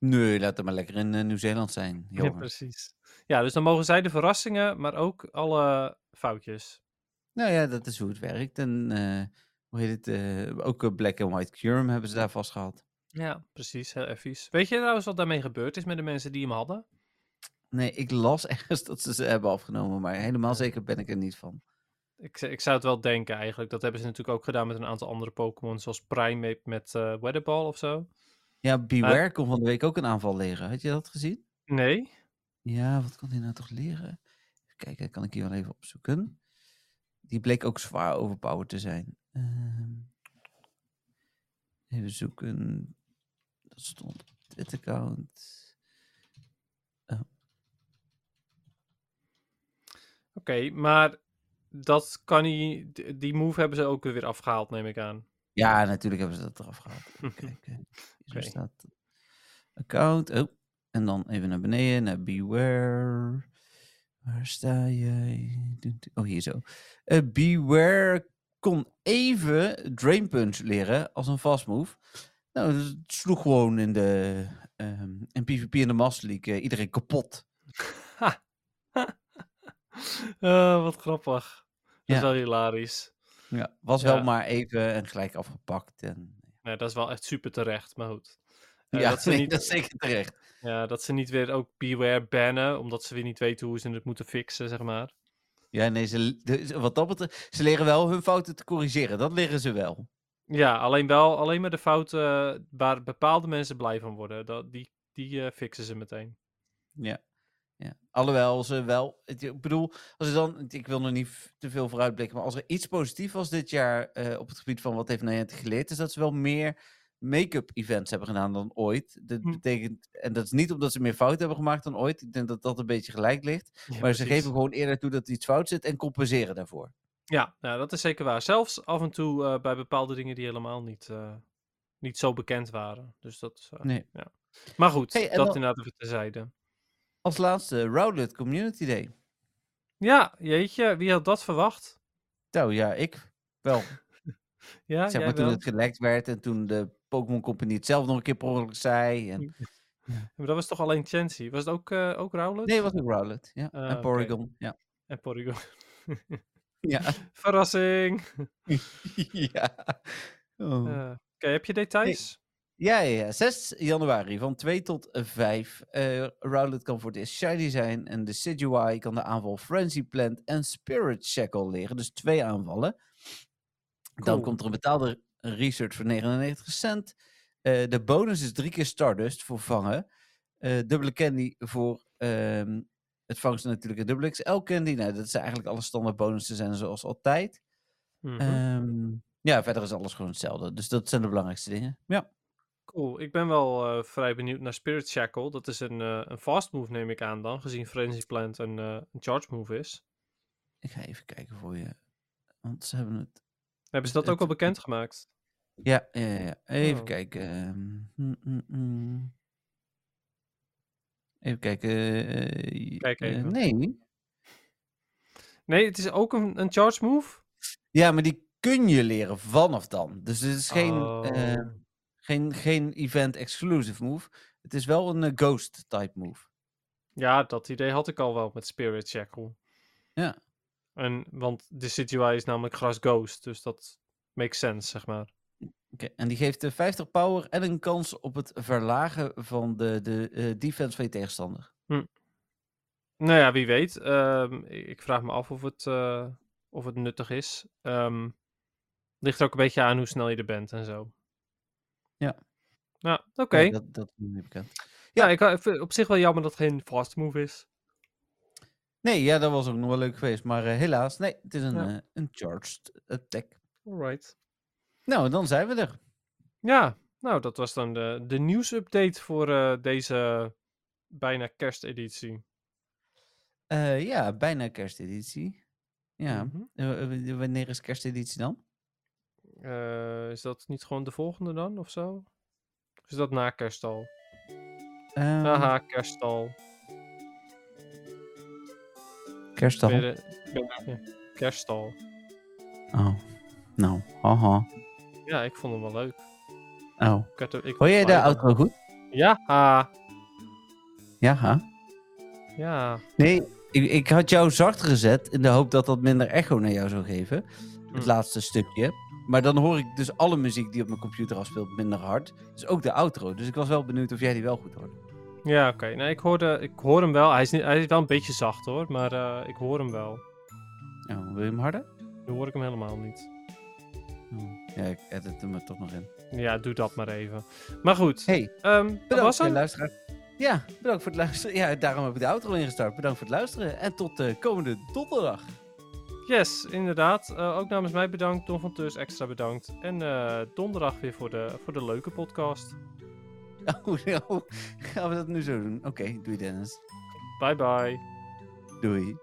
Nee, laat het maar lekker in eh, Nieuw-Zeeland zijn.
Ja,
jongens.
precies. Ja, dus dan mogen zij de verrassingen, maar ook alle foutjes.
Nou ja, dat is hoe het werkt. En eh, hoe heet het? eh, ook eh, Black and White Curum hebben ze daar vast gehad.
Ja, precies. Heel effies. Weet je trouwens wat daarmee gebeurd is met de mensen die hem hadden?
Nee, ik las ergens dat ze ze hebben afgenomen, maar helemaal zeker ben ik er niet van.
Ik, z- ik zou het wel denken eigenlijk. Dat hebben ze natuurlijk ook gedaan met een aantal andere Pokémon, zoals Primeape met eh Weatherball of zo.
Ja, Beware kon van de week ook een aanval leren. Had je dat gezien?
Nee.
Ja, wat kon hij nou toch leren? Even kijken, kan ik hier wel even opzoeken. Die bleek ook zwaar overpowered te zijn. Ehm, even zoeken. Dat stond op dit account.
Oké, maar dat kan hij, d- die move hebben ze ook weer afgehaald, neem ik aan.
Ja, natuurlijk hebben ze dat eraf gehaald. Oké, oké. Zo
Oké.
staat account. Oh, en dan even naar beneden, naar beware. Waar sta jij? Oh, hier zo. Eh, beware kon even Drain Punch leren als een fast move. Nou, dus het sloeg gewoon in de ehm, in PvP in de Master League eh, iedereen kapot.
Eh, wat grappig. Dat
Ja.
is wel hilarisch.
Ja, was wel
Ja.
maar even en gelijk afgepakt. En,
Nee, dat is wel echt super terecht, maar goed. Eh,
ja,
dat ze
nee,
niet-
dat is zeker terecht.
Ja, dat ze niet weer ook Beware bannen, omdat ze weer niet weten hoe ze het moeten fixen, zeg maar.
Ja, nee, ze, l- de- ze- wat dat betreft, ze leren wel hun fouten te corrigeren. Dat leren ze wel.
Ja, alleen wel, alleen maar de fouten waar bepaalde mensen blij van worden, dat, die, die eh, fixen ze meteen.
Ja. ja. Alhoewel ze wel, het- ik bedoel, als er dan, ik wil nog niet v- te veel vooruitblikken, maar als er iets positiefs was dit jaar eh, op het gebied van wat heeft Nijent geleerd, is dat ze wel meer make-up events hebben gedaan dan ooit. Dat
Hm.
betekent, en dat is niet omdat ze meer fouten hebben gemaakt dan ooit. Ik denk dat dat een beetje gelijk ligt.
Ja,
maar ze
precies.
geven gewoon eerder toe dat er iets fout zit en compenseren daarvoor.
Ja, nou, dat is zeker waar. Zelfs af en toe eh, bij bepaalde dingen die helemaal niet, eh, niet zo bekend waren. Dus dat is, eh,
Nee.
ja. Maar goed,
Hey, en
dat
dan-
inderdaad even terzijde.
Als laatste, Rowlet Community Day.
Ja, jeetje, wie had dat verwacht?
Nou ja, ik wel.
Ja,
zeg
jij
maar toen
wel.
het gelekt werd en toen de Pokémon Company het zelf nog een keer per ongeluk zei. En...
Maar dat was toch alleen Chancy? Was het ook, eh ook Rowlet?
Nee, het was ook Rowlet. Ja.
Ah,
en
oké.
Porygon. Ja.
En Porygon.
Ja.
Verrassing!
ja. Oh.
Eh, Oké, heb je details?
ja, ja, ja. 6 januari van 2 tot 5. Eh Rowlet kan voor het eerst Shiny zijn. En de Sidui kan de aanval Frenzy Plant en Spirit Shackle leren. Dus twee aanvallen. Dan
Cool.
komt er een betaalde research voor 99 cent. Eh, de bonus is drie keer Stardust voor vangen. Eh, dubbele candy voor ehm, het vangst van natuurlijk een dubbele XL candy. Nou, dat zijn eigenlijk alle standaard bonussen zijn zoals altijd.
Mhm.
Ehm, ja, verder is alles gewoon hetzelfde. Dus dat zijn de belangrijkste dingen. Ja.
Cool, ik ben wel eh, vrij benieuwd naar Spirit Shackle. Dat is een, eh, een fast move, neem ik aan dan, gezien Frenzy Plant een, eh, een charge move is.
Ik ga even kijken voor je. Want ze hebben het.
Hebben ze dat ook
Het-
al bekendgemaakt?
Ja, ja, ja, ja. Even
Oh.
kijken. ehm, mm, mm, mm. Even kijken. eh,
Kijk
eh,
even.
nee.
Nee, het is ook een, een charge move?
Ja, maar die kun je leren vanaf dan. Dus het is geen, eh,
Oh.
geen, geen event exclusive move. Het is wel een eh, ghost type move.
Ja, dat idee had ik al wel met Spirit Shackle.
Ja.
En, want de Situai is namelijk Gras Ghost, dus dat makes sense, zeg maar.
Oké, en die geeft eh, 50 power en een kans op het verlagen van de, de eh, defense van je tegenstander.
Nou ja, wie weet. Ehm, i- ik vraag me af of het, eh, of het nuttig is. Ehm, ligt er ook een beetje aan hoe snel je er bent en zo.
Ja.
Nou, oké.
Nee,
Ja,
dat, dat is niet bekend.
ik ha- ik vind het op zich wel jammer dat het geen fast move is.
Nee, ja, dat was ook nog wel leuk geweest. Maar eh, helaas, nee, het is een,
Ja.
eh, een charged attack.
Alright.
Nou, dan zijn we er.
Ja, nou, dat was dan de, de nieuwsupdate voor eh, deze bijna kersteditie.
Eh, ja, bijna kersteditie. Ja,
Mhm.
eh, eh, wanneer is kersteditie dan?
Eh, is dat niet gewoon de volgende dan, of zo? Of is dat na kerstal?
Ehm,
Haha, kerstal.
Kerst
Ben je
dan.
de- ben je- Kerstal.
Oh, nou, haha.
Ja, ik vond hem wel leuk.
Oh.
Ik had er- ik
Hoor jij de
vond het
outro goed?
leuk. Ja, ha.
Ja, ha.
ja.
Nee, ik, ik had jou zacht gezet in de hoop dat dat minder echo naar jou zou geven. Het
Hm.
laatste stukje. Maar dan hoor ik dus alle muziek die op mijn computer afspeelt minder hard. Dus ook de outro. Dus ik was wel benieuwd of jij die wel goed hoorde.
Ja, oké. Nee, ik, hoorde, ik hoor hem wel. Hij is, niet, hij is wel een beetje zacht hoor, maar eh, ik hoor hem wel.
Oh, wil je hem harder?
Nu hoor ik hem helemaal niet. Hmm.
Ja, ik edit hem er toch nog in.
Ja, doe dat maar even. Maar goed,
Hey,
ehm, dat
bedankt
was
voor
hem.
het luisteren. Ja, bedankt voor het luisteren. Ja, daarom heb ik de outro ingestart. Bedankt voor het luisteren. En tot de komende donderdag.
Yes, inderdaad. Eh, ook namens mij bedankt. Don van Tus extra bedankt. En eh, donderdag weer voor de, voor de leuke podcast.
Oh, no. Gaan we dat nu zo doen? Oké, doei Dennis.
Bye bye.
Doei.